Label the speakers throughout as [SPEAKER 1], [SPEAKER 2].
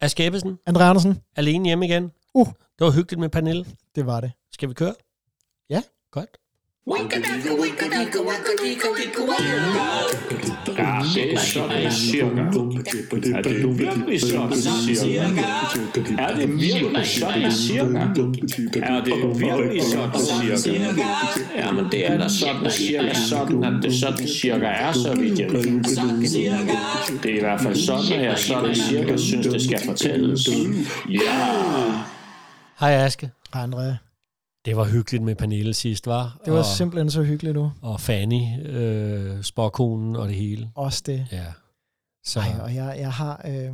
[SPEAKER 1] Aske Ebbesen,
[SPEAKER 2] André Andersen,
[SPEAKER 1] alene hjemme igen.
[SPEAKER 2] Uh.
[SPEAKER 1] Det var hyggeligt med Pernille.
[SPEAKER 2] det var det.
[SPEAKER 1] Skal vi køre?
[SPEAKER 2] Ja.
[SPEAKER 1] Godt.
[SPEAKER 3] Ja, det er sådan cirka. Er det virkelig sådan cirka? Er det virkelig sådan cirka? Er det virkelig sådan cirka? Ja, men det er da sådan cirka sådan, at det sådan cirka er, så vidt jeg ved. Det er i hvert fald sådan, at jeg sådan cirka synes, det skal fortælles. Ja!
[SPEAKER 1] Hej Aske.
[SPEAKER 2] Hej André.
[SPEAKER 1] Det var hyggeligt med Pernille sidst, var?
[SPEAKER 2] Det var
[SPEAKER 1] og,
[SPEAKER 2] simpelthen så hyggeligt nu.
[SPEAKER 1] og Fanny, øh, sporkonen og det hele.
[SPEAKER 2] Også det.
[SPEAKER 1] Ja. Så
[SPEAKER 2] Ej, og jeg, jeg har... Øh,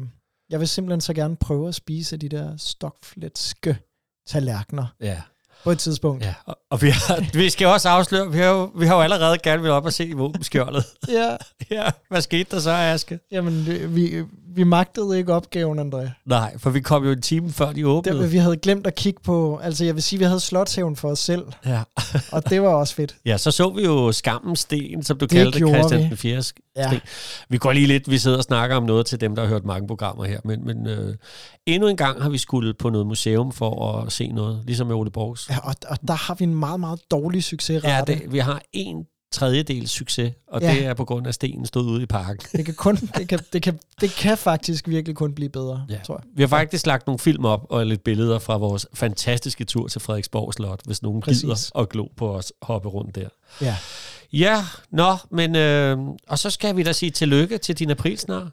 [SPEAKER 2] jeg vil simpelthen så gerne prøve at spise de der stokflætske tallerkener
[SPEAKER 1] ja.
[SPEAKER 2] på et tidspunkt.
[SPEAKER 1] Ja, og, og vi, har, vi skal også afsløre, vi har, jo, vi har jo allerede gerne vil op og se i våbenskjoldet.
[SPEAKER 2] ja.
[SPEAKER 1] ja, hvad skete der så, Aske?
[SPEAKER 2] Jamen, det- vi, vi magtede ikke opgaven, André.
[SPEAKER 1] Nej, for vi kom jo en time før de
[SPEAKER 2] Det,
[SPEAKER 1] åbnede.
[SPEAKER 2] vi havde glemt at kigge på... Altså, jeg vil sige, vi havde slotshaven for os selv,
[SPEAKER 1] Ja.
[SPEAKER 2] og det var også fedt.
[SPEAKER 1] ja, så så vi jo Skammens Sten, som du det
[SPEAKER 2] Det
[SPEAKER 1] kaldte
[SPEAKER 2] gjorde
[SPEAKER 1] Christian
[SPEAKER 2] vi.
[SPEAKER 1] den 4. sten.
[SPEAKER 2] Ja.
[SPEAKER 1] Vi går lige lidt, vi sidder og snakker om noget til dem, der har hørt mange programmer her, men, men øh, endnu en gang har vi skulle på noget museum for at se noget, ligesom med Ole Borgs.
[SPEAKER 2] Ja, og, og der har vi en meget, meget dårlig
[SPEAKER 1] Ja,
[SPEAKER 2] succesrate.
[SPEAKER 1] det, vi har en tredjedel succes, og ja.
[SPEAKER 2] Ja.
[SPEAKER 1] det er på grund af, at stenen stod ude i parken.
[SPEAKER 2] Det kan, kun, det, kan, det, kan, det kan faktisk virkelig kun blive bedre,
[SPEAKER 1] Ja.
[SPEAKER 2] ja. tror jeg.
[SPEAKER 1] Vi har faktisk lagt nogle film op og lidt billeder fra vores fantastiske tur til Frederiksborg Slot, hvis nogen Præcis.
[SPEAKER 2] Præcis.
[SPEAKER 1] gider at glo på os og hoppe rundt der.
[SPEAKER 2] Ja.
[SPEAKER 1] Ja, nå, men øh, og så skal vi da sige tillykke til din aprilsnar.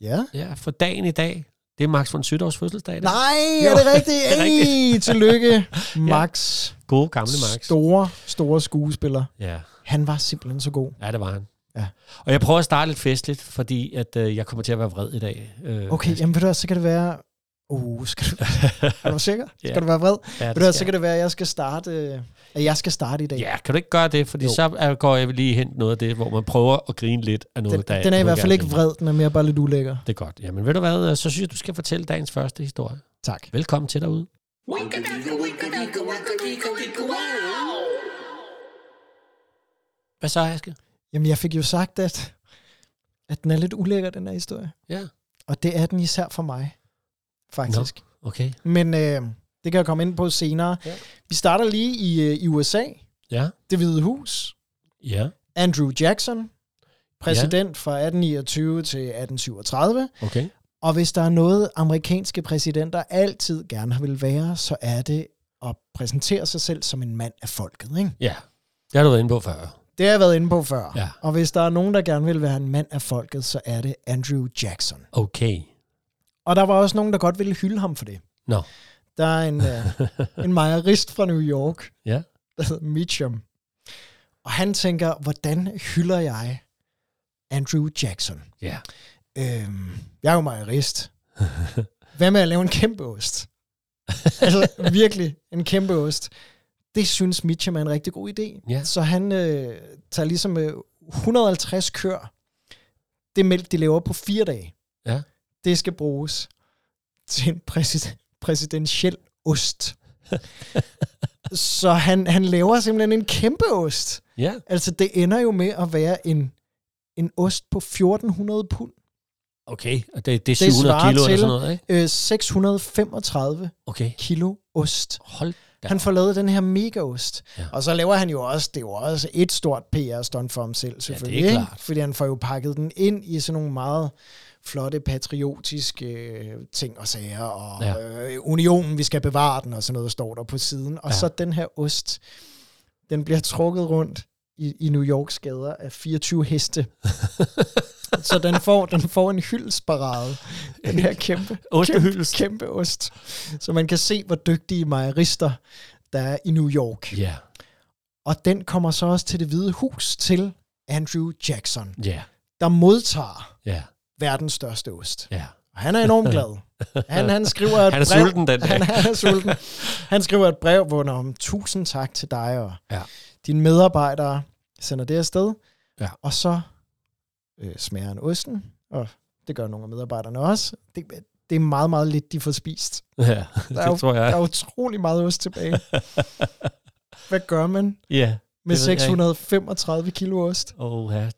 [SPEAKER 2] Ja.
[SPEAKER 1] Ja, for dagen i dag, det er Max von Sydows fødselsdag. i dag.
[SPEAKER 2] Nej,
[SPEAKER 1] Jo,
[SPEAKER 2] er det rigtigt?
[SPEAKER 1] det er
[SPEAKER 2] Ej, tillykke, Max.
[SPEAKER 1] Gode gamle Max.
[SPEAKER 2] Store, store skuespiller.
[SPEAKER 1] Ja.
[SPEAKER 2] Han var simpelthen så god.
[SPEAKER 1] ja, det var han.
[SPEAKER 2] Ja.
[SPEAKER 1] Og jeg prøver at starte lidt festligt, fordi at, øh, jeg kommer til at være vred i dag. Øh,
[SPEAKER 2] Okay, jamen ved du hvad, så kan det være... Uh, skal du... Er du sikker?
[SPEAKER 1] Ja.
[SPEAKER 2] Skal du være vred?
[SPEAKER 1] ja,
[SPEAKER 2] Ved
[SPEAKER 1] det
[SPEAKER 2] du hvad,
[SPEAKER 1] skal
[SPEAKER 2] så kan det være, at jeg skal starte, øh, at jeg skal starte i dag.
[SPEAKER 1] jeg. ja, kan du ikke gøre det? Fordi jo.
[SPEAKER 2] Jo.
[SPEAKER 1] så er- går jeg lige hen noget af det, hvor man prøver at grine lidt af noget,
[SPEAKER 2] Den,
[SPEAKER 1] der
[SPEAKER 2] den er i
[SPEAKER 1] du
[SPEAKER 2] hvert fald
[SPEAKER 1] gerne
[SPEAKER 2] ikke
[SPEAKER 1] vil.
[SPEAKER 2] vred, den er mere bare lidt ulækker.
[SPEAKER 1] Det er godt. Jamen ved du hvad, øh, så synes jeg, du skal fortælle dagens første historie.
[SPEAKER 2] Tak.
[SPEAKER 1] Velkommen til derude. Hvad så, Aske?
[SPEAKER 2] Jamen, jeg fik jo sagt, at, at den er lidt ulækker, den her historie.
[SPEAKER 1] Ja.
[SPEAKER 2] Og det er den især for mig, faktisk.
[SPEAKER 1] Okay.
[SPEAKER 2] No. Men øh, det kan jeg komme ind på senere.
[SPEAKER 1] Ja.
[SPEAKER 2] Ja. Vi starter lige i, øh, i USA.
[SPEAKER 1] Ja.
[SPEAKER 2] Det Hvide Hus.
[SPEAKER 1] Ja.
[SPEAKER 2] Andrew Jackson, præsident ja. fra 1829 til 1837.
[SPEAKER 1] Okay.
[SPEAKER 2] Og hvis der er noget, amerikanske præsidenter altid gerne vil være, så er det at præsentere sig selv som en mand af folket. Ikke?
[SPEAKER 1] Ja. Det har du været inde på før.
[SPEAKER 2] Det har jeg været inde på før.
[SPEAKER 1] Ja.
[SPEAKER 2] Og hvis der er nogen, der gerne vil være en mand af folket, så er det Andrew Jackson.
[SPEAKER 1] Okay.
[SPEAKER 2] Og der var også nogen, der godt ville hylde ham for det.
[SPEAKER 1] Nå.
[SPEAKER 2] Der er en, øh, en mejerist fra New York,
[SPEAKER 1] Ja.
[SPEAKER 2] der hedder Mitchum. Og han tænker, hvordan hylder jeg Andrew Jackson?
[SPEAKER 1] Ja.
[SPEAKER 2] Øhm, jeg er jo mejerist. Hvad med at lave en kæmpe ost? altså virkelig en kæmpe ost. Det synes Mitchum er en rigtig god idé.
[SPEAKER 1] Ja.
[SPEAKER 2] Så han øh, tager ligesom øh, 150 køer. Det mælk, de laver på fire dage.
[SPEAKER 1] Ja.
[SPEAKER 2] Det skal bruges til en præsid- præsidentiel ost. Så han, han laver simpelthen en kæmpe ost.
[SPEAKER 1] Ja.
[SPEAKER 2] Altså, det ender jo med at være en, en ost på 1400 pund.
[SPEAKER 1] Okay. Og det, det er
[SPEAKER 2] Det
[SPEAKER 1] 700 kilo
[SPEAKER 2] svarer
[SPEAKER 1] eller
[SPEAKER 2] til-
[SPEAKER 1] sådan noget, ikke?
[SPEAKER 2] Øh, 635
[SPEAKER 1] Okay.
[SPEAKER 2] kilo ost.
[SPEAKER 1] Hold da.
[SPEAKER 2] Ja. Han får lavet den her megaost.
[SPEAKER 1] Ja.
[SPEAKER 2] Ja. Og så laver han jo også, det er jo også et stort PR-stunt for ham selv, selvfølgelig.
[SPEAKER 1] det er
[SPEAKER 2] ikke?
[SPEAKER 1] klart.
[SPEAKER 2] Fordi han får jo pakket den ind i sådan nogle meget flotte patriotiske øh, ting og sager, og
[SPEAKER 1] Ja.
[SPEAKER 2] ja. øh, unionen, vi skal bevare den, og sådan noget står der på siden. Og
[SPEAKER 1] Ja.
[SPEAKER 2] ja. så den her ost, den bliver trukket rundt i, i New Yorks gader af 24 heste. så den får, den får en hyldesparade, den her kæmpe, kæmpe,
[SPEAKER 1] Ostehyldest.
[SPEAKER 2] kæmpe ost. Så man kan se, hvor dygtige mejerister der er i New York.
[SPEAKER 1] Ja.
[SPEAKER 2] Og den kommer så også til det hvide hus til Andrew Jackson,
[SPEAKER 1] Ja.
[SPEAKER 2] der modtager
[SPEAKER 1] Ja.
[SPEAKER 2] verdens største ost.
[SPEAKER 1] Ja.
[SPEAKER 2] Og han er enormt glad. Han, han skriver et
[SPEAKER 1] Han er
[SPEAKER 2] brev.
[SPEAKER 1] sulten den dag.
[SPEAKER 2] Han, han er sulten. Han skriver et brev, hvor om tusind tak til dig og
[SPEAKER 1] Ja.
[SPEAKER 2] dine medarbejdere. Sender det afsted.
[SPEAKER 1] Ja.
[SPEAKER 2] Og så øh, smager han osten, og det gør nogle af medarbejderne også. Det, det er meget, meget lidt, de får spist.
[SPEAKER 1] Ja.
[SPEAKER 2] Der er, jo,
[SPEAKER 1] Det tror jeg.
[SPEAKER 2] der er utrolig meget ost tilbage. Hvad gør man
[SPEAKER 1] Ja.
[SPEAKER 2] med
[SPEAKER 1] Det ved jeg ikke.
[SPEAKER 2] 635 kilo ost?
[SPEAKER 1] Åh, ja. Jeg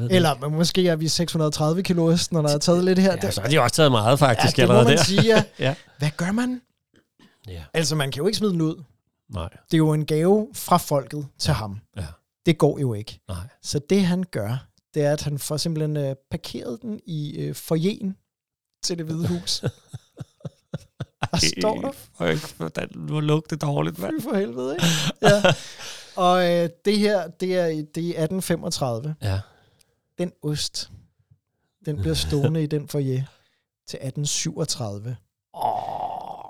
[SPEAKER 1] ved det
[SPEAKER 2] Eller men måske er vi 630 kilo hesten, og der er taget lidt her.
[SPEAKER 1] ikke. Ja, så har de også taget meget faktisk
[SPEAKER 2] ja, det må
[SPEAKER 1] allerede
[SPEAKER 2] man
[SPEAKER 1] der.
[SPEAKER 2] sige. Ja.
[SPEAKER 1] Ja.
[SPEAKER 2] Hvad gør man?
[SPEAKER 1] Ja.
[SPEAKER 2] Altså, man kan jo ikke smide den ud.
[SPEAKER 1] Nej,
[SPEAKER 2] Det er jo en gave fra folket til ham.
[SPEAKER 1] Ja.
[SPEAKER 2] Det går jo ikke.
[SPEAKER 1] nej.
[SPEAKER 2] Så det han gør, det er, at han får simpelthen øh, parkeret den i øh, forjen til det hvide hus. og står der,
[SPEAKER 1] Hvordan, hvor lugte det dårligt, mand.
[SPEAKER 2] fy for helvede, ikke? Ja. Og øh, det her, det er, i- det er i 1835.
[SPEAKER 1] Ja.
[SPEAKER 2] Den ost, den bliver stående i den forje til 1837.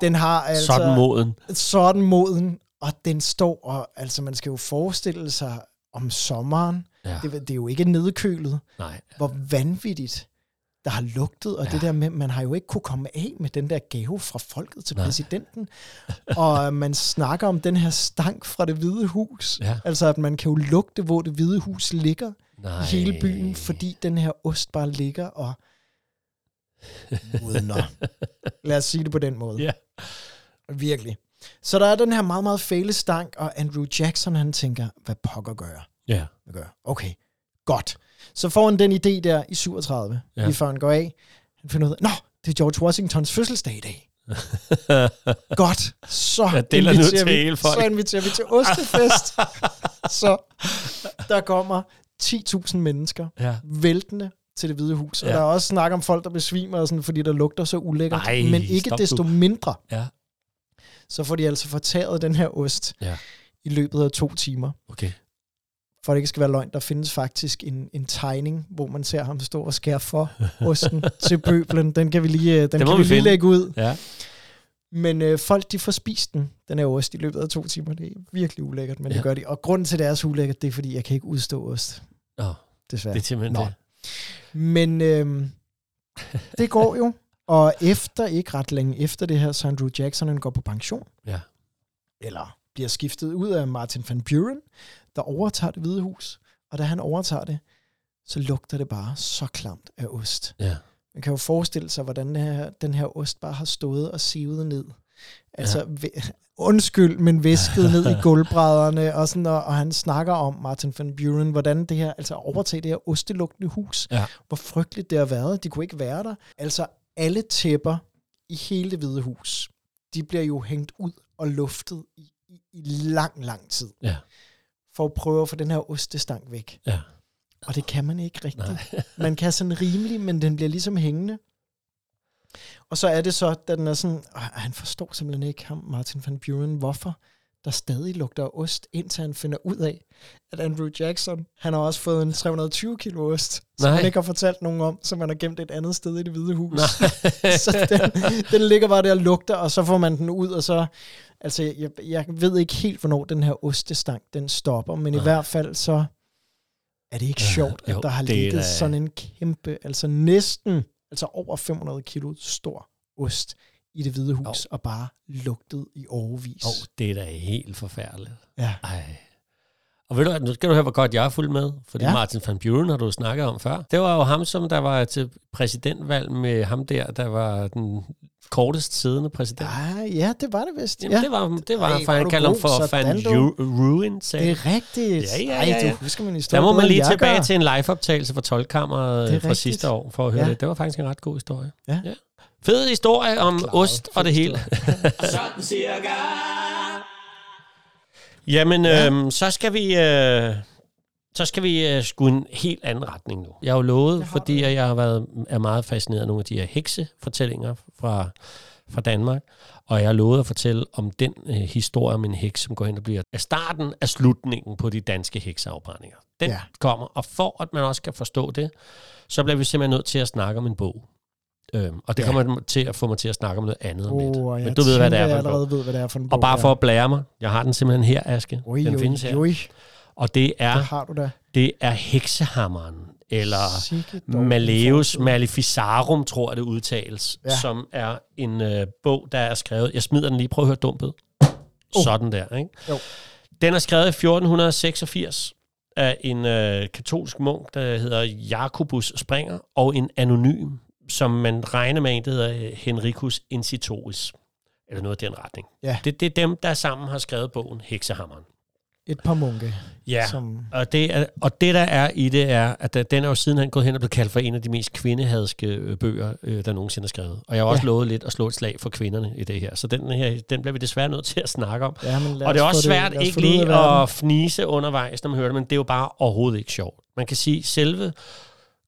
[SPEAKER 2] Den har altså...
[SPEAKER 1] Sådan moden.
[SPEAKER 2] sådan moden, og den står, og altså man skal jo forestille sig om sommeren,
[SPEAKER 1] Ja.
[SPEAKER 2] det, det er jo ikke nedkølet,
[SPEAKER 1] Nej.
[SPEAKER 2] hvor vanvittigt der har lugtet, og ja. det der med, man har jo ikke kunne komme af med den der gave fra folket til Nej. præsidenten, og man snakker om den her stank fra det hvide hus,
[SPEAKER 1] Ja.
[SPEAKER 2] altså at man kan jo lugte, hvor det hvide hus ligger
[SPEAKER 1] Nej.
[SPEAKER 2] i hele byen, fordi den her ost bare ligger og modner. Lad os sige det på den måde.
[SPEAKER 1] Ja.
[SPEAKER 2] Virkelig. Så der er den her meget, meget fæle stank, og Andrew Jackson, han tænker, hvad pokker gør jeg?
[SPEAKER 1] Ja.
[SPEAKER 2] Hvad gør jeg? Okay, godt. Så får han den idé der i 37,
[SPEAKER 1] Ja.
[SPEAKER 2] ja. lige før han går af. Han finder ud af, nå, det er George Washingtons fødselsdag i dag. godt, så
[SPEAKER 1] Jeg deler nu
[SPEAKER 2] inviterer
[SPEAKER 1] til
[SPEAKER 2] vi,
[SPEAKER 1] hele folk.
[SPEAKER 2] så inviterer vi til ostefest. så der kommer 10.000 mennesker
[SPEAKER 1] ja.
[SPEAKER 2] væltende til det hvide hus. Ja.
[SPEAKER 1] Ja.
[SPEAKER 2] Og der er også snak om folk, der besvimer, og sådan, fordi der lugter så ulækkert.
[SPEAKER 1] Nej,
[SPEAKER 2] Men ikke
[SPEAKER 1] stop
[SPEAKER 2] desto
[SPEAKER 1] du.
[SPEAKER 2] mindre,
[SPEAKER 1] Ja.
[SPEAKER 2] så får de altså fortæret den her ost
[SPEAKER 1] Ja.
[SPEAKER 2] i løbet af to timer.
[SPEAKER 1] Okay.
[SPEAKER 2] For det ikke skal være løgn, der findes faktisk en, en tegning, hvor man ser ham stå og skære for osten til bøblen. Den kan vi lige, øh, den
[SPEAKER 1] må
[SPEAKER 2] kan
[SPEAKER 1] vi
[SPEAKER 2] vi lige
[SPEAKER 1] finde.
[SPEAKER 2] lægge ud.
[SPEAKER 1] Ja.
[SPEAKER 2] Men øh, folk, de får spist den, den her ost, i løbet af to timer. Det er virkelig ulækkert, men ja.
[SPEAKER 1] Ja.
[SPEAKER 2] det gør de. Og grunden til, det er så ulækkert, det er, fordi jeg kan ikke udstå ost,
[SPEAKER 1] Nå,
[SPEAKER 2] desværre.
[SPEAKER 1] det er simpelthen
[SPEAKER 2] Nå.
[SPEAKER 1] det.
[SPEAKER 2] Men øhm, det går jo. Og efter, ikke ret længe efter det her, så Andrew Jackson han går på pension.
[SPEAKER 1] Ja.
[SPEAKER 2] Eller bliver skiftet ud af Martin Van Buren, der overtager det hvide hus. Og da han overtager det, så lugter det bare så klamt af ost.
[SPEAKER 1] Ja.
[SPEAKER 2] Man kan jo forestille sig, hvordan det her, den her ost bare har stået og sivet ned. Altså, ja. undskyld, men væsket ned i gulvbrædderne, og, sådan, og, og han snakker om, Martin Van Buren, hvordan det her, altså overtage det her ostelugtende hus,
[SPEAKER 1] Ja.
[SPEAKER 2] hvor frygteligt det har været. De kunne ikke være der. Altså, alle tæpper i hele det hvide hus, de bliver jo hængt ud og luftet i, i, i lang, lang tid,
[SPEAKER 1] Ja.
[SPEAKER 2] for at prøve at få den her ostestank væk.
[SPEAKER 1] Ja.
[SPEAKER 2] Og det kan man ikke rigtigt.
[SPEAKER 1] Nej.
[SPEAKER 2] Man kan sådan rimelig, men den bliver ligesom hængende. Og så er det så, at den er sådan, og han forstår simpelthen ikke ham, Martin van Buren, hvorfor der stadig lugter af ost, indtil han finder ud af, at Andrew Jackson, han har også fået en 320 kilo ost, som
[SPEAKER 1] Nej.
[SPEAKER 2] han ikke har fortalt nogen om, som han har gemt et andet sted i det hvide hus. så den, den ligger bare der og lugter, og så får man den ud, og så... Altså, jeg, jeg ved ikke helt, hvornår den her ostestank, den stopper, men i hvert fald så er det ikke
[SPEAKER 1] Ja,
[SPEAKER 2] sjovt, at
[SPEAKER 1] jo,
[SPEAKER 2] der har
[SPEAKER 1] det er
[SPEAKER 2] ligget
[SPEAKER 1] da-
[SPEAKER 2] sådan en kæmpe, altså næsten, altså over 500 kilo stor ost i det hvide hus, og bare lugtet i overvis.
[SPEAKER 1] Åh, oh, det er da helt forfærdeligt.
[SPEAKER 2] Ja.
[SPEAKER 1] Ej. Og ved du hvad, nu skal du høre, hvor godt jeg er fuld med. Fordi ja.
[SPEAKER 2] Ja.
[SPEAKER 1] Martin van Buren har du jo snakket om før. Det var jo ham, som der var til præsidentvalg med ham der, der var den kortest siddende præsident. Ja.
[SPEAKER 2] Ah, ja, det var det vist.
[SPEAKER 1] Jamen, ja. det var, det var
[SPEAKER 2] Ej,
[SPEAKER 1] Ej, for
[SPEAKER 2] hvor er
[SPEAKER 1] han
[SPEAKER 2] du
[SPEAKER 1] kalder ham
[SPEAKER 2] god,
[SPEAKER 1] for
[SPEAKER 2] sådan
[SPEAKER 1] Van
[SPEAKER 2] du.
[SPEAKER 1] Ru- Ruin, sagde
[SPEAKER 2] det er rigtigt.
[SPEAKER 1] Ja, ja,
[SPEAKER 2] Ej,
[SPEAKER 1] ja, ja.
[SPEAKER 2] du husker min historie.
[SPEAKER 1] Der må man
[SPEAKER 2] bedre,
[SPEAKER 1] lige
[SPEAKER 2] end jeg
[SPEAKER 1] tilbage
[SPEAKER 2] gør.
[SPEAKER 1] til en liveoptagelse fra
[SPEAKER 2] Det er
[SPEAKER 1] Tolkammer fra
[SPEAKER 2] rigtigt.
[SPEAKER 1] sidste år, for at høre ja.
[SPEAKER 2] Ja.
[SPEAKER 1] det. Det var faktisk en ret god historie.
[SPEAKER 2] Ja.
[SPEAKER 1] ja. Fed historie om
[SPEAKER 2] Klaret.
[SPEAKER 1] ost og
[SPEAKER 2] Fed
[SPEAKER 1] det hele.
[SPEAKER 3] Sådan cirka.
[SPEAKER 1] Jamen, ja. øhm, så skal vi... Øh, så skal vi øh, sgu en helt anden retning nu. Jeg har jo lovet,
[SPEAKER 2] har
[SPEAKER 1] fordi jeg har været, er meget fascineret af nogle af de her heksefortællinger fra, fra Danmark, og jeg har lovet at fortælle om den øh, historie om en heks, som går hen og bliver af starten af slutningen på de danske hekseafbrændinger. Den ja.
[SPEAKER 2] Ja.
[SPEAKER 1] kommer, og for at man også kan forstå det, så bliver vi simpelthen nødt til at snakke om en bog. Øhm, og det ja.
[SPEAKER 2] Ja.
[SPEAKER 1] kommer til at få mig til at snakke om noget andet om lidt.
[SPEAKER 2] Åh, og jeg
[SPEAKER 1] Men du ved, hvad det
[SPEAKER 2] tænker,
[SPEAKER 1] er for
[SPEAKER 2] jeg
[SPEAKER 1] en bog.
[SPEAKER 2] allerede ved, hvad det er for en bog.
[SPEAKER 1] Og bare
[SPEAKER 2] ja.
[SPEAKER 1] for at blære mig, jeg har den simpelthen her, Aske.
[SPEAKER 2] Ui,
[SPEAKER 1] den
[SPEAKER 2] ui,
[SPEAKER 1] findes her.
[SPEAKER 2] ui,
[SPEAKER 1] Og det
[SPEAKER 2] det
[SPEAKER 1] er,
[SPEAKER 2] har du da.
[SPEAKER 1] det er heksehammeren, eller
[SPEAKER 2] Sikke dog.
[SPEAKER 1] Maleus Maleficarum, tror jeg det udtales, ja.
[SPEAKER 2] Ja.
[SPEAKER 1] som er en øh, bog, der er skrevet... Jeg smider den lige, prøv at høre dumpet. Oh.
[SPEAKER 2] Oh.
[SPEAKER 1] Sådan der, ikke?
[SPEAKER 2] Jo.
[SPEAKER 1] Den er skrevet i 1486 af en øh, katolsk munk, der hedder Jacobus Springer, og en anonym, som man regner med, en, der hedder øh, Henricus Incitoris, eller noget i den retning.
[SPEAKER 2] Ja.
[SPEAKER 1] Det, det er dem, der sammen har skrevet bogen Heksehammeren.
[SPEAKER 2] et par munke.
[SPEAKER 1] Ja,
[SPEAKER 2] Som,
[SPEAKER 1] og det, er, og det der er i det er, at der- den er jo sidenhen gået hen og blevet kaldt for en af de mest kvindehadske øh, bøger, øh, der nogensinde er skrevet. Og jeg har også
[SPEAKER 2] Ja.
[SPEAKER 1] ja. lovet lidt at slå et slag for kvinderne i det her. Så den her, den bliver vi desværre nødt til at snakke om.
[SPEAKER 2] ja, men lad
[SPEAKER 1] Og det er
[SPEAKER 2] os få
[SPEAKER 1] også svært
[SPEAKER 2] lad os
[SPEAKER 1] ikke
[SPEAKER 2] få det ud af
[SPEAKER 1] lige
[SPEAKER 2] verden.
[SPEAKER 1] at fnise undervejs, når man hører det, men det er jo bare overhovedet ikke sjovt. Man kan sige, at selve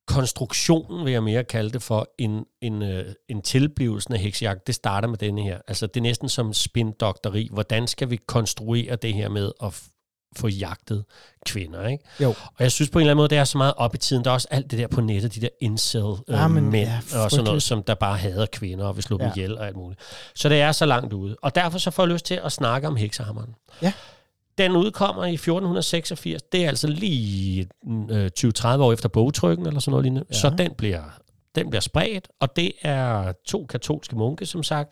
[SPEAKER 1] konstruktionen, vil jeg mere kalde det for, en, en, øh, en tilblivelsen af heksejagt, det starter med denne her. Altså det er næsten som spindokteri. Hvordan skal vi konstruere det her med at f- få jagtet kvinder, ikke?
[SPEAKER 2] Jo.
[SPEAKER 1] Og jeg synes på en eller anden måde, det er så meget op i tiden. Der er også alt det der på nettet, de der incel øh,
[SPEAKER 2] Ja, Ah, men
[SPEAKER 1] mænd
[SPEAKER 2] ja,
[SPEAKER 1] ja, og sådan
[SPEAKER 2] frygteligt.
[SPEAKER 1] noget, som der bare hader kvinder og vil slå
[SPEAKER 2] Ja.
[SPEAKER 1] dem ihjel og alt muligt. Så det er så langt ude. Og derfor så får jeg lyst til at snakke om heksehammeren.
[SPEAKER 2] Ja.
[SPEAKER 1] Den udkommer i 1486. Det er altså lige øh, 20-30 år efter bogtrykken eller sådan noget lignende. Ja. Så
[SPEAKER 2] Ja.
[SPEAKER 1] den bliver, den bliver spredt, og det er to katolske munke, som sagt,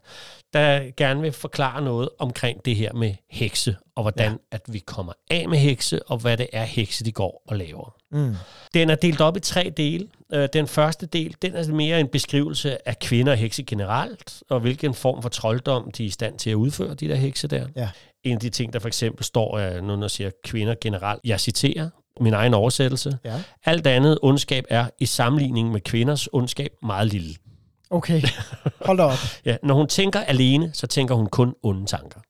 [SPEAKER 1] der gerne vil forklare noget omkring det her med hekse, og hvordan ja. at vi kommer af med hekse, og hvad det er hekse, de går og laver.
[SPEAKER 2] Mm.
[SPEAKER 1] Den er delt op i tre dele. Øh, Den første del, den er mere en beskrivelse af kvinder og hekse generelt, og hvilken form for trolddom de er i stand til at udføre, de der hekse der.
[SPEAKER 2] Ja.
[SPEAKER 1] En af de ting, der for eksempel står, er, når man siger kvinder generelt, jeg citerer min egen oversættelse.
[SPEAKER 2] Ja.
[SPEAKER 1] Alt andet ondskab er i sammenligning med kvinders ondskab meget lille.
[SPEAKER 2] Okay, hold da op.
[SPEAKER 1] Ja, når hun tænker alene, så tænker hun kun onde tanker.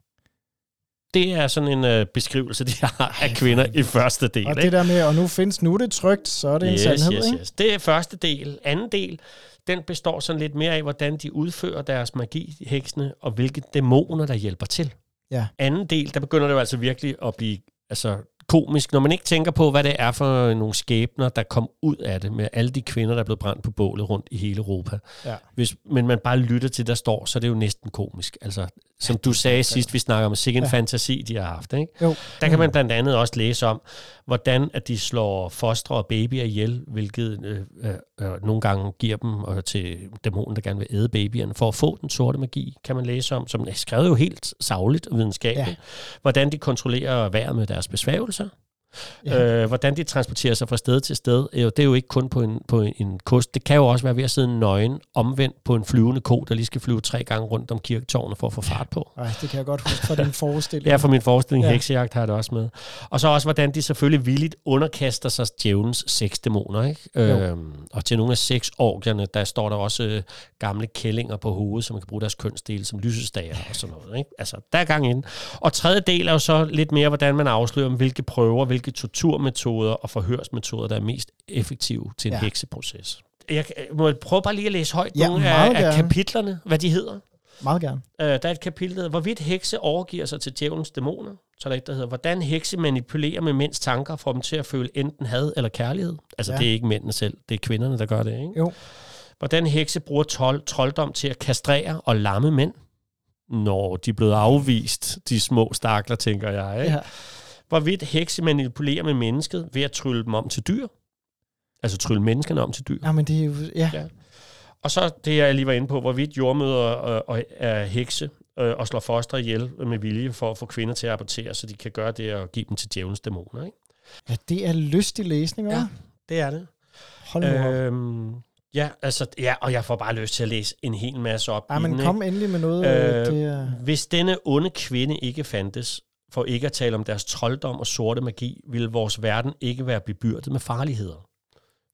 [SPEAKER 1] Det er sådan en øh, beskrivelse, de har af kvinder i første del.
[SPEAKER 2] Og
[SPEAKER 1] ikke?
[SPEAKER 2] det der med, og nu findes nu er det trygt, så er det en sandhed, ikke?
[SPEAKER 1] yes. Det er første del. Anden del, den består sådan lidt mere af, hvordan de udfører deres magi, heksene, og hvilke dæmoner, der hjælper til.
[SPEAKER 2] Ja.
[SPEAKER 1] Anden del, der begynder det jo altså virkelig at blive altså, komisk, når man ikke tænker på, hvad det er for nogle skæbner, der kom ud af det, med alle de kvinder, der er blevet brændt på bålet rundt i hele Europa.
[SPEAKER 2] Ja.
[SPEAKER 1] Hvis, men man bare lytter til, der står, så er det jo næsten komisk. Altså, som du sagde sidst, vi snakker om, sikke en
[SPEAKER 2] Ja.
[SPEAKER 1] ja. fantasi, de har haft. Ikke?
[SPEAKER 2] Jo.
[SPEAKER 1] Der kan man blandt andet også læse om, hvordan at de slår fostre og babyer ihjel, hvilket øh, øh, øh, nogle gange giver dem øh, til dæmonen, der gerne vil æde babyerne. For at få den sorte magi, kan man læse om, som er skrevet jo helt savligt og videnskabeligt,
[SPEAKER 2] Ja.
[SPEAKER 1] ja. hvordan de kontrollerer vejret med deres besværgelser.
[SPEAKER 2] Ja.
[SPEAKER 1] Ja. Øh, hvordan de transporterer sig fra sted til sted, øh, det er jo ikke kun på en, på en kost. Det kan jo også være ved at sidde nøgen omvendt på en flyvende ko, der lige skal flyve tre gange rundt om kirketårnet for at få fart på.
[SPEAKER 2] Ej, det kan jeg godt huske fra din forestilling.
[SPEAKER 1] Ja, for min forestilling,
[SPEAKER 2] Ja.
[SPEAKER 1] ja. heksejagt har jeg det også med. Og så også, hvordan de selvfølgelig villigt underkaster sig djævelens seks dæmoner. Ikke?
[SPEAKER 2] Jo.
[SPEAKER 1] Øhm, og til nogle af seks orkerne, der står der også øh, gamle kællinger på hovedet, som man kan bruge deres kønsdele som lysestager og sådan noget. Ikke? Altså, der er gang inden. Og tredje del er jo så lidt mere, hvordan man afslører, hvilke prøver, hvilke torturmetoder og forhørsmetoder, der er mest effektive til en
[SPEAKER 2] Ja.
[SPEAKER 1] ja. hekseproces. Jeg kan- må jeg prøve bare lige at læse højt
[SPEAKER 2] Ja,
[SPEAKER 1] ja, nogle
[SPEAKER 2] meget
[SPEAKER 1] af, af
[SPEAKER 2] gerne.
[SPEAKER 1] kapitlerne, hvad de hedder.
[SPEAKER 2] Meget gerne.
[SPEAKER 1] Øh, der er et kapitel, der hedder, hvorvidt hekse overgiver sig til djævelens dæmoner. Så er der et, der hedder, hvordan hekse manipulerer med mænds tanker og får dem til at føle enten had eller kærlighed. Altså,
[SPEAKER 2] Ja.
[SPEAKER 1] ja. det er ikke mændene selv, det er kvinderne, der gør det, ikke?
[SPEAKER 2] Jo.
[SPEAKER 1] Hvordan hekse bruger tol- trolddom til at kastrere og lamme mænd. Når de er blevet afvist, de små stakler, tænker jeg, ikke?
[SPEAKER 2] Ja.
[SPEAKER 1] Ja. Hvorvidt hekse manipulerer med mennesket ved at trylle dem om til dyr. Altså trylle menneskerne om til dyr.
[SPEAKER 2] Ja, men det er jo... Ja.
[SPEAKER 1] Ja. Og så det, jeg lige var inde på, hvorvidt jordmøder øh, og er hekse øh, og slår foster ihjel med vilje for at få kvinder til at abortere, så de kan gøre det og give dem til djævelens dæmoner. Ikke?
[SPEAKER 2] ja, det er lystig læsning, hva'?
[SPEAKER 1] Ja. Det er det.
[SPEAKER 2] Hold nu op.
[SPEAKER 1] Øhm, ja, altså, ja, og jeg får bare lyst til at læse en hel masse op.
[SPEAKER 2] Ej,
[SPEAKER 1] i
[SPEAKER 2] men
[SPEAKER 1] den, ikke?
[SPEAKER 2] kom endelig med noget. Øh,
[SPEAKER 1] Øh,
[SPEAKER 2] det er...
[SPEAKER 1] Hvis denne onde kvinde ikke fandtes, for ikke at tale om deres trolddom og sorte magi, ville vores verden ikke være bebyrdet med farligheder.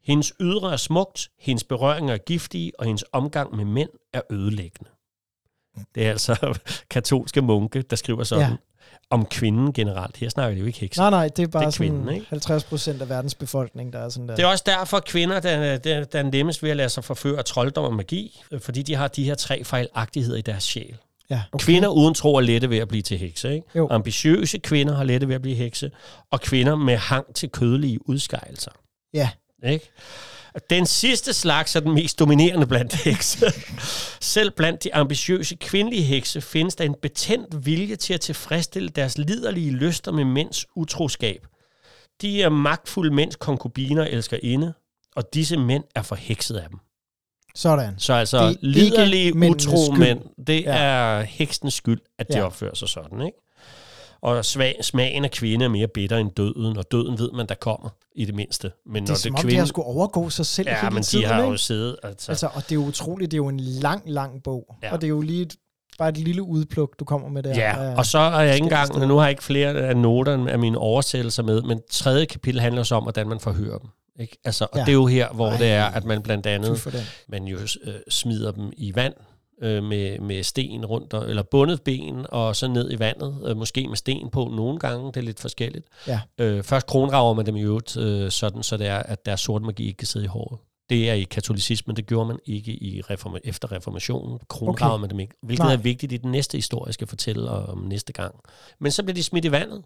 [SPEAKER 1] Hendes ydre er smukt, hendes berøringer er giftige, og hendes omgang med mænd er ødelæggende. Det er altså katolske munke, der skriver sådan
[SPEAKER 2] Ja.
[SPEAKER 1] ja. om kvinden generelt. Her snakker de jo ikke hekser.
[SPEAKER 2] Nej, nej, det er bare
[SPEAKER 1] Det
[SPEAKER 2] det
[SPEAKER 1] er
[SPEAKER 2] er sådan
[SPEAKER 1] kvinden, ikke?
[SPEAKER 2] 50 procent af verdens befolkning, der er sådan der.
[SPEAKER 1] Det er også derfor, at kvinder der, der, der er nemmest ved at lade sig forføre af trolddom og magi, øh, fordi de har de her tre fejlagtigheder i deres sjæl.
[SPEAKER 2] ja,
[SPEAKER 1] Okay. Kvinder uden tro er lette ved at blive til hekse. Ikke?
[SPEAKER 2] Jo.
[SPEAKER 1] Ambitiøse kvinder har lette ved at blive hekse, og kvinder med hang til kødelige udskejelser.
[SPEAKER 2] Ja.
[SPEAKER 1] Ikke? Den sidste slags er den mest dominerende blandt hekse. Selv blandt de ambitiøse kvindelige hekse findes der en betændt vilje til at tilfredsstille deres liderlige lyster med mænds utroskab. De er magtfulde mænds konkubiner elsker inde, og disse mænd er forhekset af dem.
[SPEAKER 2] Sådan.
[SPEAKER 1] Så
[SPEAKER 2] Det er
[SPEAKER 1] altså,
[SPEAKER 2] ikke
[SPEAKER 1] liderlige
[SPEAKER 2] mændenes
[SPEAKER 1] utro
[SPEAKER 2] skyld.
[SPEAKER 1] mænd, det
[SPEAKER 2] Ja.
[SPEAKER 1] ja. er heksens skyld, at de
[SPEAKER 2] Ja.
[SPEAKER 1] ja. opfører sig sådan, ikke? Og svag, smagen af kvinde er mere bitter end døden, og døden ved man, der kommer i det mindste. Men
[SPEAKER 2] Det
[SPEAKER 1] når
[SPEAKER 2] er som
[SPEAKER 1] det
[SPEAKER 2] om,
[SPEAKER 1] kvinde...
[SPEAKER 2] de har skulle overgå sig selv
[SPEAKER 1] ja,
[SPEAKER 2] hele
[SPEAKER 1] men
[SPEAKER 2] tiden,
[SPEAKER 1] de har
[SPEAKER 2] ikke?
[SPEAKER 1] jo siddet... Altså,
[SPEAKER 2] Altså, og det er jo utroligt, det er jo en lang, lang bog. Ja.
[SPEAKER 1] Ja.
[SPEAKER 2] Og det er jo lige et bare et lille udpluk, du kommer med der.
[SPEAKER 1] Ja, og så er jeg ikke engang, nu har jeg ikke flere af noterne af mine oversættelser med, men tredje kapitel handler så om, hvordan man forhører dem. Ikke? Altså, og ja.
[SPEAKER 2] Ja.
[SPEAKER 1] det er jo her, hvor Ej.
[SPEAKER 2] Ej.
[SPEAKER 1] det er, at man blandt
[SPEAKER 2] Fy
[SPEAKER 1] andet
[SPEAKER 2] for den.
[SPEAKER 1] man jo øh, smider dem i vand øh, med, med sten rundt, og- eller bundet ben, og så ned i vandet, øh, måske med sten på nogle gange, det er lidt forskelligt.
[SPEAKER 2] Ja.
[SPEAKER 1] Øh, først kronrager man dem i øvrigt, øh, sådan så det er, at deres sorte magi ikke kan sidde i håret. Det er i katolicismen, det gjorde man ikke i reform- efter reformationen. Kronrager okay.
[SPEAKER 2] Okay.
[SPEAKER 1] man dem ikke, hvilket Nej.
[SPEAKER 2] Nej.
[SPEAKER 1] er vigtigt i den næste historie, jeg skal fortælle om næste gang. Men så bliver de smidt i vandet,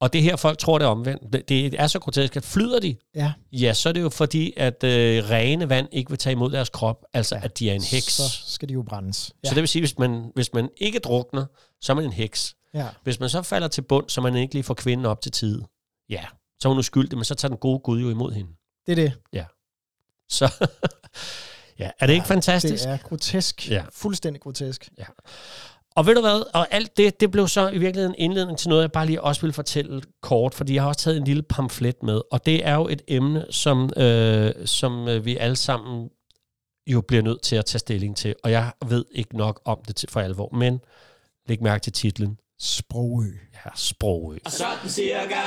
[SPEAKER 1] og det er her, folk tror, det er omvendt. Det, det er så grotesk, at flyder de,
[SPEAKER 2] Ja,
[SPEAKER 1] Ja, så er det jo fordi, at øh, rene vand ikke vil tage imod deres krop, altså ja.
[SPEAKER 2] Ja,
[SPEAKER 1] at de er en heks.
[SPEAKER 2] så
[SPEAKER 1] Så,
[SPEAKER 2] skal de jo brændes.
[SPEAKER 1] ja. så det vil sige, hvis man, hvis man ikke drukner, så er man en heks.
[SPEAKER 2] ja.
[SPEAKER 1] Hvis man så falder til bund, så man ikke lige får kvinden op til tide, ja, så er hun uskyldig, men så tager den gode Gud jo imod hende.
[SPEAKER 2] Det er det.
[SPEAKER 1] Så ja, er det ikke fantastisk?
[SPEAKER 2] Det er grotesk.
[SPEAKER 1] Ja.
[SPEAKER 2] Ja. Fuldstændig grotesk.
[SPEAKER 1] Og ved du hvad, og alt det, det blev så i virkeligheden indledning til noget, jeg bare lige også ville fortælle kort, fordi jeg har også taget en lille pamflet med, og det er jo et emne, som, øh, som øh, vi alle sammen jo bliver nødt til at tage stilling til, og jeg ved ikke nok om det til, for alvor, men læg mærke til titlen,
[SPEAKER 2] Sprogø.
[SPEAKER 1] ja, sprogø.
[SPEAKER 3] Sådan cirka.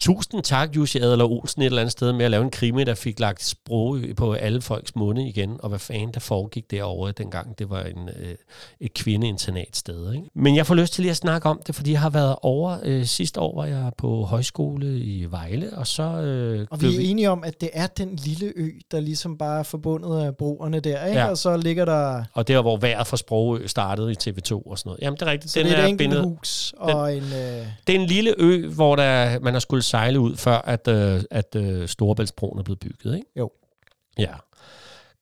[SPEAKER 1] Tusind tak, Jussi Adler Olsen, et eller andet sted med at lave en krimi, der fik lagt sprogø på alle folks munde igen, og hvad fanden der foregik derovre dengang, det var en, øh, et kvindeinternatssted. Ikke? Men jeg får lyst til lige at snakke om det, fordi jeg har været over, øh, sidste år var jeg på højskole i Vejle, og så øh,
[SPEAKER 2] Og vi
[SPEAKER 1] blev
[SPEAKER 2] er enige om, at det er den lille ø, der ligesom bare er forbundet af broerne der, ikke?
[SPEAKER 1] Ja.
[SPEAKER 2] Ja. Og så ligger der...
[SPEAKER 1] og der hvor vejret fra Sprogø startede i TV2 og sådan noget. Jamen det er rigtigt,
[SPEAKER 2] Så
[SPEAKER 1] den
[SPEAKER 2] det er
[SPEAKER 1] er
[SPEAKER 2] et enkelt
[SPEAKER 1] bindet,
[SPEAKER 2] hus og den. en... Øh,
[SPEAKER 1] Det er en lille ø, hvor der, man har skulle sejle ud, før at, øh, at øh, Storebæltsbroen er blevet bygget, ikke?
[SPEAKER 2] Jo.
[SPEAKER 1] Ja.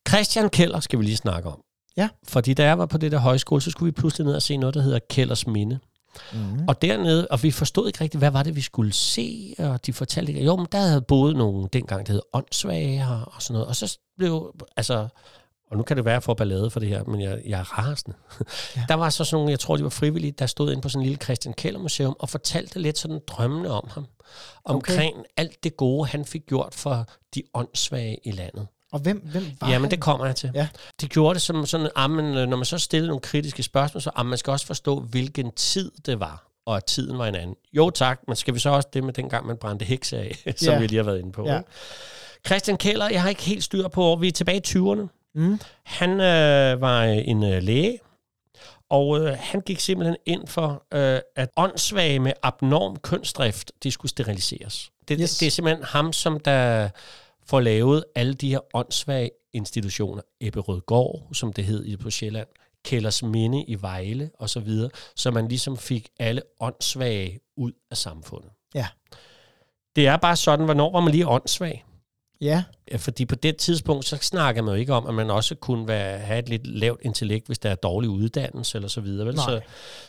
[SPEAKER 1] Christian Keller skal vi lige snakke om.
[SPEAKER 2] Ja.
[SPEAKER 1] Fordi da jeg var på det der højskole, så skulle vi pludselig ned og se noget, der hedder Kellers Minde.
[SPEAKER 2] mm.
[SPEAKER 1] Og dernede, og vi forstod ikke rigtigt, hvad var det, vi skulle se, og de fortalte ikke. Jo, men der havde boet nogle, dengang det hed åndssvage og, og sådan noget. Og så blev, altså, og nu kan det være, at jeg får ballade for det her, men jeg, jeg er rasende. Ja. Der var så sådan nogle, jeg tror, de var frivillige, der stod inde på sådan en lille Christian Keller Museum og fortalte lidt sådan drømmende om ham. Omkring okay. alt det gode, han fik gjort for de åndssvage i landet.
[SPEAKER 2] Og hvem, hvem var
[SPEAKER 1] Jamen,
[SPEAKER 2] han?
[SPEAKER 1] det kommer jeg til.
[SPEAKER 2] Ja.
[SPEAKER 1] De gjorde det som sådan, ah, men, øh, når man så stillede nogle kritiske spørgsmål, så ah, man skal også forstå, hvilken tid det var, og at tiden var en anden. Jo tak, men skal vi så også det med dengang, man brændte hekse af, som
[SPEAKER 2] Ja.
[SPEAKER 1] vi lige har været inde på.
[SPEAKER 2] Ja.
[SPEAKER 1] ikke? Christian Keller, jeg har ikke helt styr på, hvor vi er tilbage i 20'erne.
[SPEAKER 2] Mm.
[SPEAKER 1] Han øh, var øh, en øh, læge, og øh, han gik simpelthen ind for, øh, at åndssvage med abnorm kønsdrift, de skulle steriliseres. Det, yes.
[SPEAKER 2] Yes.
[SPEAKER 1] det er simpelthen ham, som der får lavet alle de her åndssvage institutioner. Ebberødgård, som det hed i- på Sjælland, Kælders Minde i Vejle osv., så man ligesom fik alle åndssvage ud af samfundet.
[SPEAKER 2] Ja.
[SPEAKER 1] Det er bare sådan, hvornår var man lige åndssvag?
[SPEAKER 2] Ja,
[SPEAKER 1] Ja, fordi på det tidspunkt, så snakker man jo ikke om, at man også kunne være, have et lidt lavt intellekt, hvis der er dårlig uddannelse eller så videre. Vel?
[SPEAKER 2] Nej.
[SPEAKER 1] Så,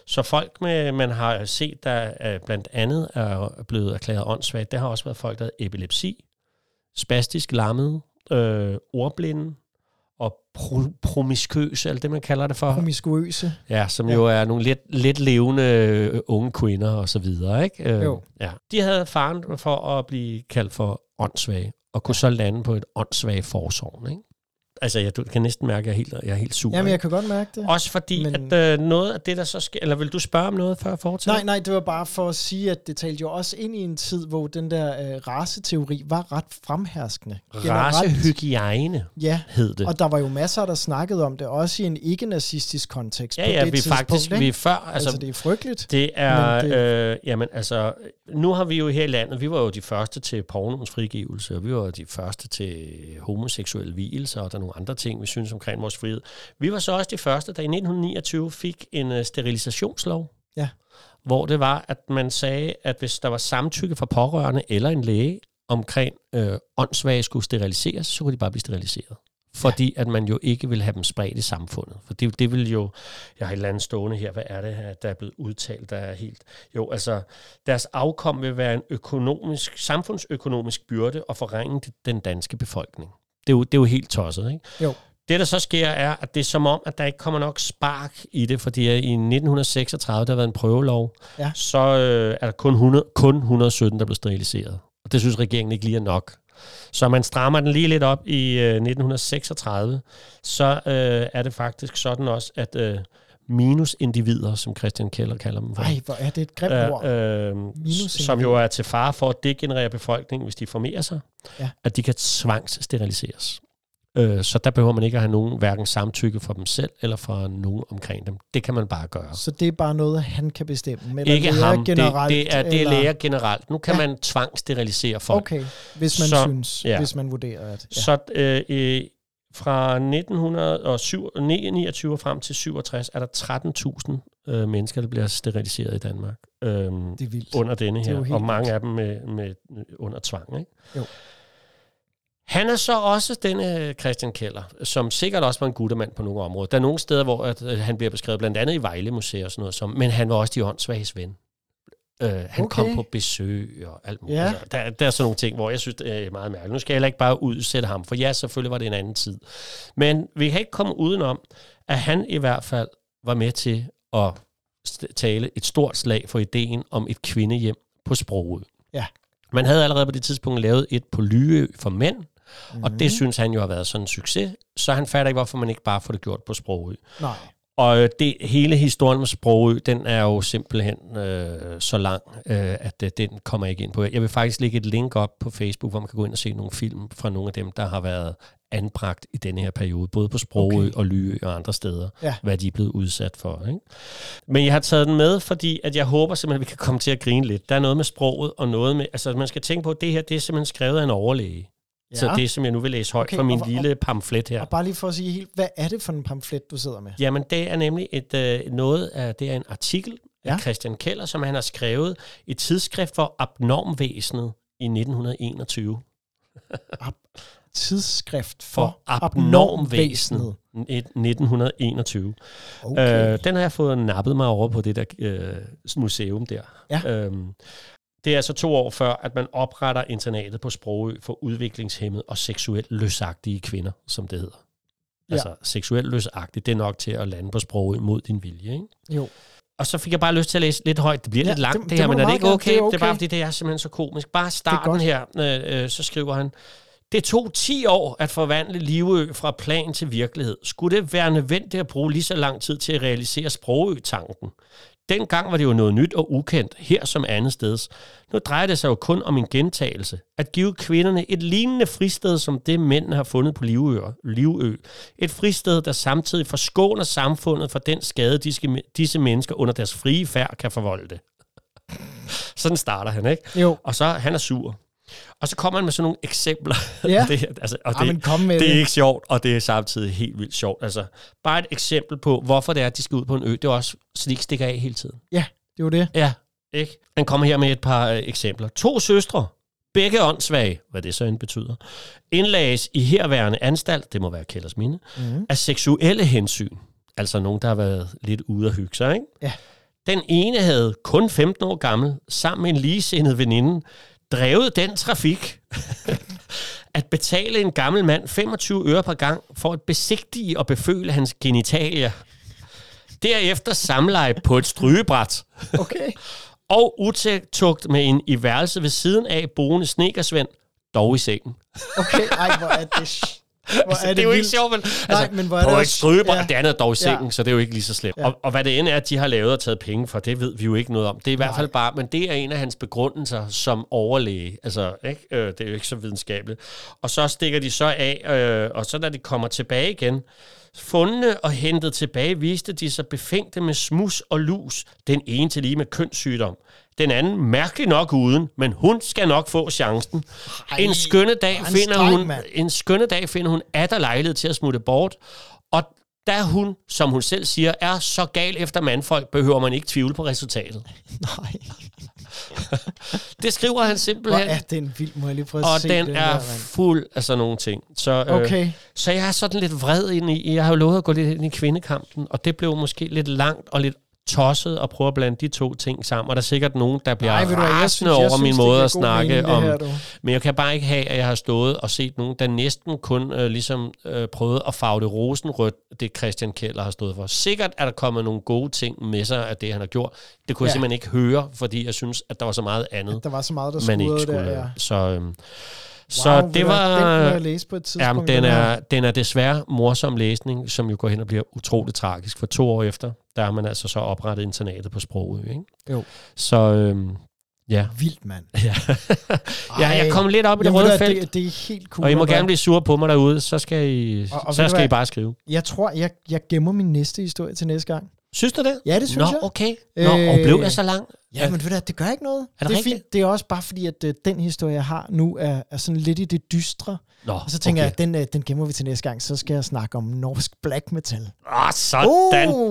[SPEAKER 1] så folk, med, man har set, der øh, blandt andet er blevet erklæret åndssvagt, det har også været folk, der havde epilepsi, spastisk lammede, øh, ordblinde og pro- promiskøse, alt det, man kalder det for.
[SPEAKER 2] promiskuøse.
[SPEAKER 1] Ja, som ja.
[SPEAKER 2] Ja.
[SPEAKER 1] jo er nogle lidt, lidt levende øh, unge kvinder og så videre, ikke? Øh,
[SPEAKER 2] Jo.
[SPEAKER 1] Ja. De havde faren for at blive kaldt for åndssvage, og kunne så lande på et åndssvage forsovn, ikke? Altså, jeg du kan næsten mærke, at jeg er helt, jeg er helt sur.
[SPEAKER 2] Jamen, jeg
[SPEAKER 1] ikke?
[SPEAKER 2] kan godt mærke det.
[SPEAKER 1] Også fordi, men...
[SPEAKER 2] Men-
[SPEAKER 1] at øh, noget af det, der så sker... Eller vil du spørge om noget, før jeg fortsætter?
[SPEAKER 2] Nej, nej, det var bare for at sige, at det talte jo også ind i en tid, hvor den der øh, raceteori var ret fremherskende. Generelt.
[SPEAKER 1] Racehygiejne
[SPEAKER 2] Ja,
[SPEAKER 1] hed det.
[SPEAKER 2] og der var jo masser, der snakkede om det, også i en ikke-nazistisk kontekst
[SPEAKER 1] Ja,
[SPEAKER 2] på
[SPEAKER 1] ja,
[SPEAKER 2] det
[SPEAKER 1] vi er
[SPEAKER 2] tidspunkt.
[SPEAKER 1] faktisk...
[SPEAKER 2] ikke?
[SPEAKER 1] Vi er før... Altså,
[SPEAKER 2] altså, det er frygteligt.
[SPEAKER 1] Det er,
[SPEAKER 2] Men
[SPEAKER 1] Øh, jamen altså, nu har vi jo her i landet, vi var jo de første til pornoens frigivelse, og vi var jo de første til homoseksuel hvilelse, og der er nogle andre ting, vi synes omkring vores frihed. Vi var så også de første, der i 1929 fik en øh, sterilisationslov,
[SPEAKER 2] Ja.
[SPEAKER 1] hvor det var, at man sagde, at hvis der var samtykke fra pårørende eller en læge omkring øh, åndssvage skulle steriliseres, så kunne de bare blive steriliseret. Fordi at man jo ikke vil have dem spredt i samfundet. For det, det vil jo... Jeg har et eller andet stående her. Hvad er det her, der er blevet udtalt, der er helt... Jo, altså, deres afkom vil være en økonomisk, samfundsøkonomisk byrde og forringe de- den danske befolkning. Det er jo, det er jo helt tosset, ikke?
[SPEAKER 2] Jo.
[SPEAKER 1] Det, der så sker, er, at det er som om, at der ikke kommer nok spark i det, fordi i 1936, der har været en prøvelov,
[SPEAKER 2] Ja.
[SPEAKER 1] så øh, er der kun, 100, kun 117, der blev steriliseret. Og det synes regeringen ikke lige er nok. Så man strammer den lige lidt op i øh, 1936, så øh, er det faktisk sådan også, at øh, minusindivider, som Christian Keller kalder dem for,
[SPEAKER 2] Nej, hvor er det et grimt
[SPEAKER 1] øh,
[SPEAKER 2] ord.
[SPEAKER 1] øh,
[SPEAKER 2] Minus
[SPEAKER 1] som jo er til fare for at degenerere befolkningen, hvis de formerer sig,
[SPEAKER 2] Ja.
[SPEAKER 1] at de kan tvangssteriliseres. Øh, så der behøver man ikke at have nogen hverken samtykke fra dem selv eller fra nogen omkring dem. Det kan man bare gøre.
[SPEAKER 2] Så det er bare noget, han kan bestemme? Eller
[SPEAKER 1] Ikke
[SPEAKER 2] læger
[SPEAKER 1] ham,
[SPEAKER 2] generelt,
[SPEAKER 1] det, det, er, det er
[SPEAKER 2] eller-
[SPEAKER 1] læger generelt. Nu kan
[SPEAKER 2] Ja.
[SPEAKER 1] ja. man tvangssterilisere folk.
[SPEAKER 2] Okay, hvis man
[SPEAKER 1] Så-
[SPEAKER 2] synes,
[SPEAKER 1] ja.
[SPEAKER 2] hvis man vurderer, at... Ja.
[SPEAKER 1] Så øh, øh, fra 1929 og frem til 67 er der 13.000 øh, mennesker, der bliver steriliseret i Danmark øh,
[SPEAKER 2] Det er vildt.
[SPEAKER 1] under denne
[SPEAKER 2] Det er jo
[SPEAKER 1] her,
[SPEAKER 2] helt
[SPEAKER 1] og mange af dem med, med, øh, under tvang. Ikke?
[SPEAKER 2] Jo.
[SPEAKER 1] Han er så også denne Christian Keller, som sikkert også var en guttermand på nogle områder. Der er nogle steder, hvor at, øh, han bliver beskrevet, blandt andet i Vejle Museet og sådan noget, som, men han var også de åndssvages ven. Øh, han okay.
[SPEAKER 2] Okay.
[SPEAKER 1] kom på besøg og alt muligt.
[SPEAKER 2] Ja.
[SPEAKER 1] Ja. Altså, der, der er sådan nogle ting, hvor jeg synes, det er meget mærkeligt. Nu skal jeg heller ikke bare udsætte ham, for ja, selvfølgelig var det en anden tid. Men vi kan ikke komme udenom, at han i hvert fald var med til at st- tale et stort slag for ideen om et kvindehjem på sproget.
[SPEAKER 2] Ja.
[SPEAKER 1] Man havde allerede på det tidspunkt lavet et på Lyø for mænd, mm. og
[SPEAKER 2] Mhm.
[SPEAKER 1] det synes han jo har været sådan en succes, så han fatter ikke, hvorfor man ikke bare får det gjort på sproget.
[SPEAKER 2] Nej,
[SPEAKER 1] Og øh, det, hele historien med Sprogø, den er jo simpelthen øh, så lang, øh, at øh, den kommer jeg ikke ind på. Jeg vil faktisk lægge et link op på Facebook, hvor man kan gå ind og se nogle film fra nogle af dem, der har været anbragt i denne her periode, både på Sprogø
[SPEAKER 2] Okay.
[SPEAKER 1] okay. og Lyø og andre steder,
[SPEAKER 2] Ja.
[SPEAKER 1] hvad de er blevet udsat for. Ikke? Men jeg har taget den med, fordi at jeg håber simpelthen, at vi kan komme til at grine lidt. Der er noget med sproget og noget med... Altså, man skal tænke på, at det her, det er simpelthen skrevet af en overlæge. Ja.
[SPEAKER 2] Ja.
[SPEAKER 1] Så det, som jeg nu vil læse højt
[SPEAKER 2] Okay,
[SPEAKER 1] okay, fra min
[SPEAKER 2] og- og-
[SPEAKER 1] lille pamflet her.
[SPEAKER 2] og bare lige for at sige helt, hvad er det for en pamflet, du sidder med?
[SPEAKER 1] Jamen, det er nemlig et, øh, noget af, det er en artikel ja.
[SPEAKER 2] Ja.
[SPEAKER 1] af Christian Keller, som han har skrevet i tidsskrift for Abnormvæsenet i 1921.
[SPEAKER 2] Tidsskrift for,
[SPEAKER 1] For Abnormvæsenet. Et- 1921.
[SPEAKER 2] Okay.
[SPEAKER 1] Okay. Øh, den har jeg fået nappet mig over på det der øh, museum der.
[SPEAKER 2] Ja.
[SPEAKER 1] Øhm, det er altså to år før, at man opretter internatet på Sprogø for udviklingshemmede og seksuelt løsagtige kvinder, som det hedder. Ja.
[SPEAKER 2] Ja.
[SPEAKER 1] Altså seksuelt løsagtigt, det er nok til at lande på Sprogø mod din vilje, ikke?
[SPEAKER 2] jo.
[SPEAKER 1] Og så fik jeg bare lyst til at læse lidt højt. Det bliver
[SPEAKER 2] Ja,
[SPEAKER 1] ja, lidt langt,
[SPEAKER 2] det-
[SPEAKER 1] det,
[SPEAKER 2] det
[SPEAKER 1] her,
[SPEAKER 2] må
[SPEAKER 1] men
[SPEAKER 2] du
[SPEAKER 1] er det
[SPEAKER 2] meget
[SPEAKER 1] ikke
[SPEAKER 2] gerne.
[SPEAKER 1] okay?
[SPEAKER 2] Det er
[SPEAKER 1] Det er bare,
[SPEAKER 2] okay.
[SPEAKER 1] fordi det er simpelthen så komisk. Bare starten
[SPEAKER 2] godt.
[SPEAKER 1] her, øh, øh, så skriver han, det tog 10 år at forvandle Livø fra plan til virkelighed. Skulle det være nødvendigt at bruge lige så lang tid til at realisere sprogø-tanken? Dengang var det jo noget nyt og ukendt, her som andet steds. Nu drejer det sig jo kun om en gentagelse. At give kvinderne et lignende fristed, som det mændene har fundet på Livø. Livø. Et fristed, der samtidig forskåner samfundet for den skade, disse, disse mennesker under deres frie færd kan forvolde. Sådan starter han, ikke?
[SPEAKER 2] Jo.
[SPEAKER 1] Og så, han er sur. Og så kommer han med sådan nogle eksempler.
[SPEAKER 2] Ja.
[SPEAKER 1] det, altså, og
[SPEAKER 2] Ah, men kom med
[SPEAKER 1] det
[SPEAKER 2] det.
[SPEAKER 1] er ikke sjovt, og det er samtidig helt vildt sjovt. Altså, bare et eksempel på, hvorfor det er, at de skal ud på en ø. Det er også, så de ikke stikker af hele tiden.
[SPEAKER 2] Ja, det var det.
[SPEAKER 1] Ja, ikke? Han kommer her med et par øh, eksempler. To søstre, begge åndssvage, hvad det så end betyder, indlages i herværende anstalt, det må være Kælders minde,
[SPEAKER 2] Mhm.
[SPEAKER 1] mm. af seksuelle hensyn. Altså nogen, der har været lidt ude at hygge sig, ikke?
[SPEAKER 2] Ja.
[SPEAKER 1] Den ene havde kun 15 år gammel, sammen med en ligesindet veninde, drevet den trafik, at betale en gammel mand 25 øre per gang for at besigtige og beføle hans genitalier. Derefter samleje på et strygebræt
[SPEAKER 2] Okay.
[SPEAKER 1] og utugt med en i værelse ved siden af boende snekersvend, dog i sengen.
[SPEAKER 2] Okay, ej, hvor er det... sh- Hvor
[SPEAKER 1] Altså, det, det er jo ikke sjovt, men, altså,
[SPEAKER 2] men hvor er det
[SPEAKER 1] på et
[SPEAKER 2] også-
[SPEAKER 1] stryber,
[SPEAKER 2] ja.
[SPEAKER 1] ja. det andet er dog i
[SPEAKER 2] Ja.
[SPEAKER 1] sengen, ja. så det er jo ikke lige så slemt.
[SPEAKER 2] Ja.
[SPEAKER 1] Ja. Og, og hvad det end er, at de har lavet og taget penge for, det ved vi jo ikke noget om. Det er i hvert fald bare, men det er en af hans begrundelser som overlæge. Altså, ikke? Øh, det er jo ikke så videnskabeligt. Og så stikker de så af, øh, og så da de kommer tilbage igen, Fundne og hentet tilbage viste de sig befængte med smus og lus, den ene til lige med kønssygdom. Den anden mærkelig nok uden, men hun skal nok få chancen. Ej, en skønne dag
[SPEAKER 2] hvor er han
[SPEAKER 1] finder
[SPEAKER 2] streng,
[SPEAKER 1] hun
[SPEAKER 2] mand.
[SPEAKER 1] en skønne dag finder hun atter lejlighed til at smutte bort, og da hun, som hun selv siger, er så gal efter mandfolk, behøver man ikke tvivle på resultatet.
[SPEAKER 2] Nej,
[SPEAKER 1] Det skriver han
[SPEAKER 2] hvor
[SPEAKER 1] simpelthen,
[SPEAKER 2] er den vild, må jeg lige prøve at
[SPEAKER 1] og
[SPEAKER 2] se
[SPEAKER 1] den
[SPEAKER 2] den
[SPEAKER 1] er
[SPEAKER 2] der, mand.
[SPEAKER 1] fuld af sådan nogle ting. Så, øh,
[SPEAKER 2] Okay,
[SPEAKER 1] så jeg er sådan lidt vred ind i, jeg har jo lovet at gå lidt ind i kvindekampen, og det blev måske lidt langt og lidt tosset at prøve at blande de to ting sammen, og der er sikkert nogen, der bliver
[SPEAKER 2] Nej, ved du hvad, jeg
[SPEAKER 1] rasende
[SPEAKER 2] synes- jeg
[SPEAKER 1] over
[SPEAKER 2] synes,
[SPEAKER 1] min
[SPEAKER 2] det
[SPEAKER 1] måde
[SPEAKER 2] giver
[SPEAKER 1] at
[SPEAKER 2] god
[SPEAKER 1] snakke
[SPEAKER 2] mening, det
[SPEAKER 1] om.
[SPEAKER 2] her, du.
[SPEAKER 1] men jeg kan bare ikke have, at jeg har stået og set nogen, der næsten kun øh, ligesom øh, prøvede at farve det rosenrødt, det Christian Keller har stået for. Sikkert er der kommet nogle gode ting med sig af det, han har gjort. Det kunne ja.
[SPEAKER 2] Ja.
[SPEAKER 1] jeg simpelthen ikke høre, fordi jeg synes, at der var så meget andet
[SPEAKER 2] der var så meget, der
[SPEAKER 1] man
[SPEAKER 2] skurrede
[SPEAKER 1] ikke
[SPEAKER 2] der.
[SPEAKER 1] skulle.
[SPEAKER 2] Ja.
[SPEAKER 1] Så, øhm, Så
[SPEAKER 2] ved
[SPEAKER 1] det
[SPEAKER 2] du hvad,
[SPEAKER 1] var-
[SPEAKER 2] Den kunne jeg læse på et tidspunkt.
[SPEAKER 1] Jamen, den
[SPEAKER 2] den her.
[SPEAKER 1] er, den er desværre morsom læsning, som jo går hen og bliver utroligt tragisk. For to år efter, der har man altså så oprettet internatet på Sprogø, ikke?
[SPEAKER 2] Jo.
[SPEAKER 1] Så øhm, ja.
[SPEAKER 2] Vildt, mand.
[SPEAKER 1] ja. ja, jeg kom lidt op i det
[SPEAKER 2] Jamen, ved
[SPEAKER 1] røde
[SPEAKER 2] du hvad,
[SPEAKER 1] felt,
[SPEAKER 2] Det, det er helt cool.
[SPEAKER 1] og I må
[SPEAKER 2] at være-
[SPEAKER 1] gerne blive sure på mig derude, så skal I,
[SPEAKER 2] Og- og ved
[SPEAKER 1] så
[SPEAKER 2] du
[SPEAKER 1] skal
[SPEAKER 2] hvad?
[SPEAKER 1] I bare skrive.
[SPEAKER 2] Jeg tror, jeg, jeg gemmer min næste historie til næste gang.
[SPEAKER 1] Synes du det?
[SPEAKER 2] Ja, det synes
[SPEAKER 1] Nå,
[SPEAKER 2] jeg.
[SPEAKER 1] okay. Nå, og
[SPEAKER 2] Øh,
[SPEAKER 1] blev jeg så lang?
[SPEAKER 2] Ja, men ved du hvad, det gør ikke noget.
[SPEAKER 1] det
[SPEAKER 2] det, er
[SPEAKER 1] rigtigt?
[SPEAKER 2] fint. Det er også bare fordi, at øh, den historie, jeg har nu, er, er sådan lidt i det dystre.
[SPEAKER 1] Nå,
[SPEAKER 2] Og så tænker okay. jeg,
[SPEAKER 1] okay.
[SPEAKER 2] at den, øh, den gemmer vi til næste gang. Så skal jeg snakke om norsk black metal. Uh,
[SPEAKER 1] Åh, sådan,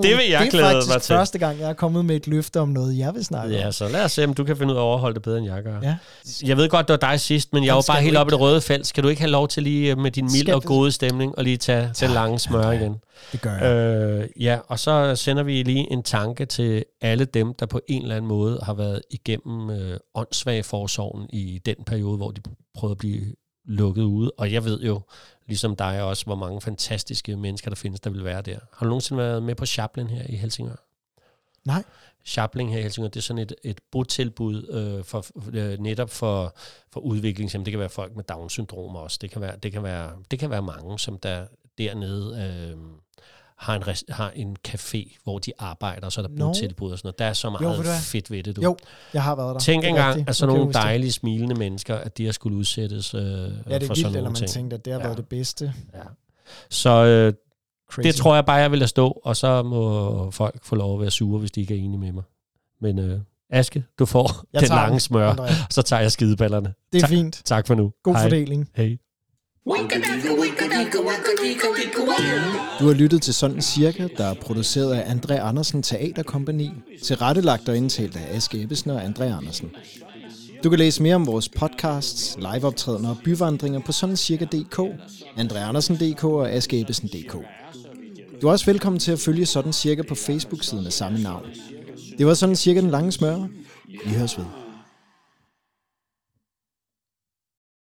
[SPEAKER 1] det vil jeg
[SPEAKER 2] det
[SPEAKER 1] glæde
[SPEAKER 2] er
[SPEAKER 1] mig
[SPEAKER 2] faktisk
[SPEAKER 1] til.
[SPEAKER 2] første gang, jeg er kommet med et løfte om noget, jeg vil snakke
[SPEAKER 1] Ja,
[SPEAKER 2] om.
[SPEAKER 1] så lad os se, om du kan finde ud af at overholde det bedre, end jeg gør.
[SPEAKER 2] Ja.
[SPEAKER 1] Jeg ved godt, det var dig sidst, men jeg
[SPEAKER 2] Den
[SPEAKER 1] var
[SPEAKER 2] skal
[SPEAKER 1] bare
[SPEAKER 2] du
[SPEAKER 1] helt
[SPEAKER 2] ikke.
[SPEAKER 1] oppe i det røde felt. Skal du ikke have lov til lige øh, med din milde
[SPEAKER 2] Skal
[SPEAKER 1] og
[SPEAKER 2] vi-
[SPEAKER 1] gode stemning og lige tage den lange smør igen?
[SPEAKER 2] Det gør jeg.
[SPEAKER 1] Øh, ja, og så sender vi lige en tanke til alle dem, der på en eller anden måde har været igennem øh, åndssvageforsorgen i den periode, hvor de prøvede at blive lukket ude. Og jeg ved jo, ligesom dig også, hvor mange fantastiske mennesker, der findes, der vil være der. Har du nogensinde været med på Chaplin her i Helsingør?
[SPEAKER 2] Nej.
[SPEAKER 1] Chaplin her i Helsingør, det er sådan et, et botilbud øh, for, øh, netop for, for udviklingshjem. Det kan være folk med Down-syndrom også. Det kan være, det kan være, det kan være mange, som der dernede øh, har, en, res- har en café, hvor de arbejder, og så er der
[SPEAKER 2] Nå.
[SPEAKER 1] botilbud og sådan noget. Der er så meget
[SPEAKER 2] ved du
[SPEAKER 1] jo,
[SPEAKER 2] hvad?
[SPEAKER 1] fedt ved det, du.
[SPEAKER 2] Jo, jeg har været der.
[SPEAKER 1] Tænk
[SPEAKER 2] Det er
[SPEAKER 1] engang,
[SPEAKER 2] rigtigt.
[SPEAKER 1] at sådan
[SPEAKER 2] Nu kan
[SPEAKER 1] nogle
[SPEAKER 2] jeg huske det.
[SPEAKER 1] dejlige, smilende mennesker, at de har skulle udsættes øh, ja, det
[SPEAKER 2] Ja, det
[SPEAKER 1] for
[SPEAKER 2] er
[SPEAKER 1] sådan
[SPEAKER 2] vildt, eller
[SPEAKER 1] nogle
[SPEAKER 2] man
[SPEAKER 1] ting.
[SPEAKER 2] tænkte, at det har
[SPEAKER 1] Ja.
[SPEAKER 2] været det bedste.
[SPEAKER 1] Så øh,
[SPEAKER 2] Crazy.
[SPEAKER 1] det tror jeg bare, jeg vil lade stå, og så må folk få lov at være sure, hvis de ikke er enige med mig. Men øh, Aske, du får
[SPEAKER 2] Jeg
[SPEAKER 1] den
[SPEAKER 2] tager den.
[SPEAKER 1] lange smør,
[SPEAKER 2] André.
[SPEAKER 1] og så tager jeg skideballerne.
[SPEAKER 2] Det er
[SPEAKER 1] Tak.
[SPEAKER 2] fint.
[SPEAKER 1] Tak for nu.
[SPEAKER 2] God
[SPEAKER 1] Hej.
[SPEAKER 2] fordeling.
[SPEAKER 1] Hej.
[SPEAKER 4] Du har lyttet til Sådan Cirka, der er produceret af André Andersen Teaterkompagni, tilrettelagt og indtalt af Aske Ebbesen og André Andersen. Du kan læse mere om vores podcasts, liveoptrædener og byvandringer på sådancirka.dk, andreandersen.dk og askeebbesen.dk. Du er også velkommen til at følge Sådan Cirka på Facebook-siden af samme navn. Det var Sådan Cirka den lange smør. Vi høres ved.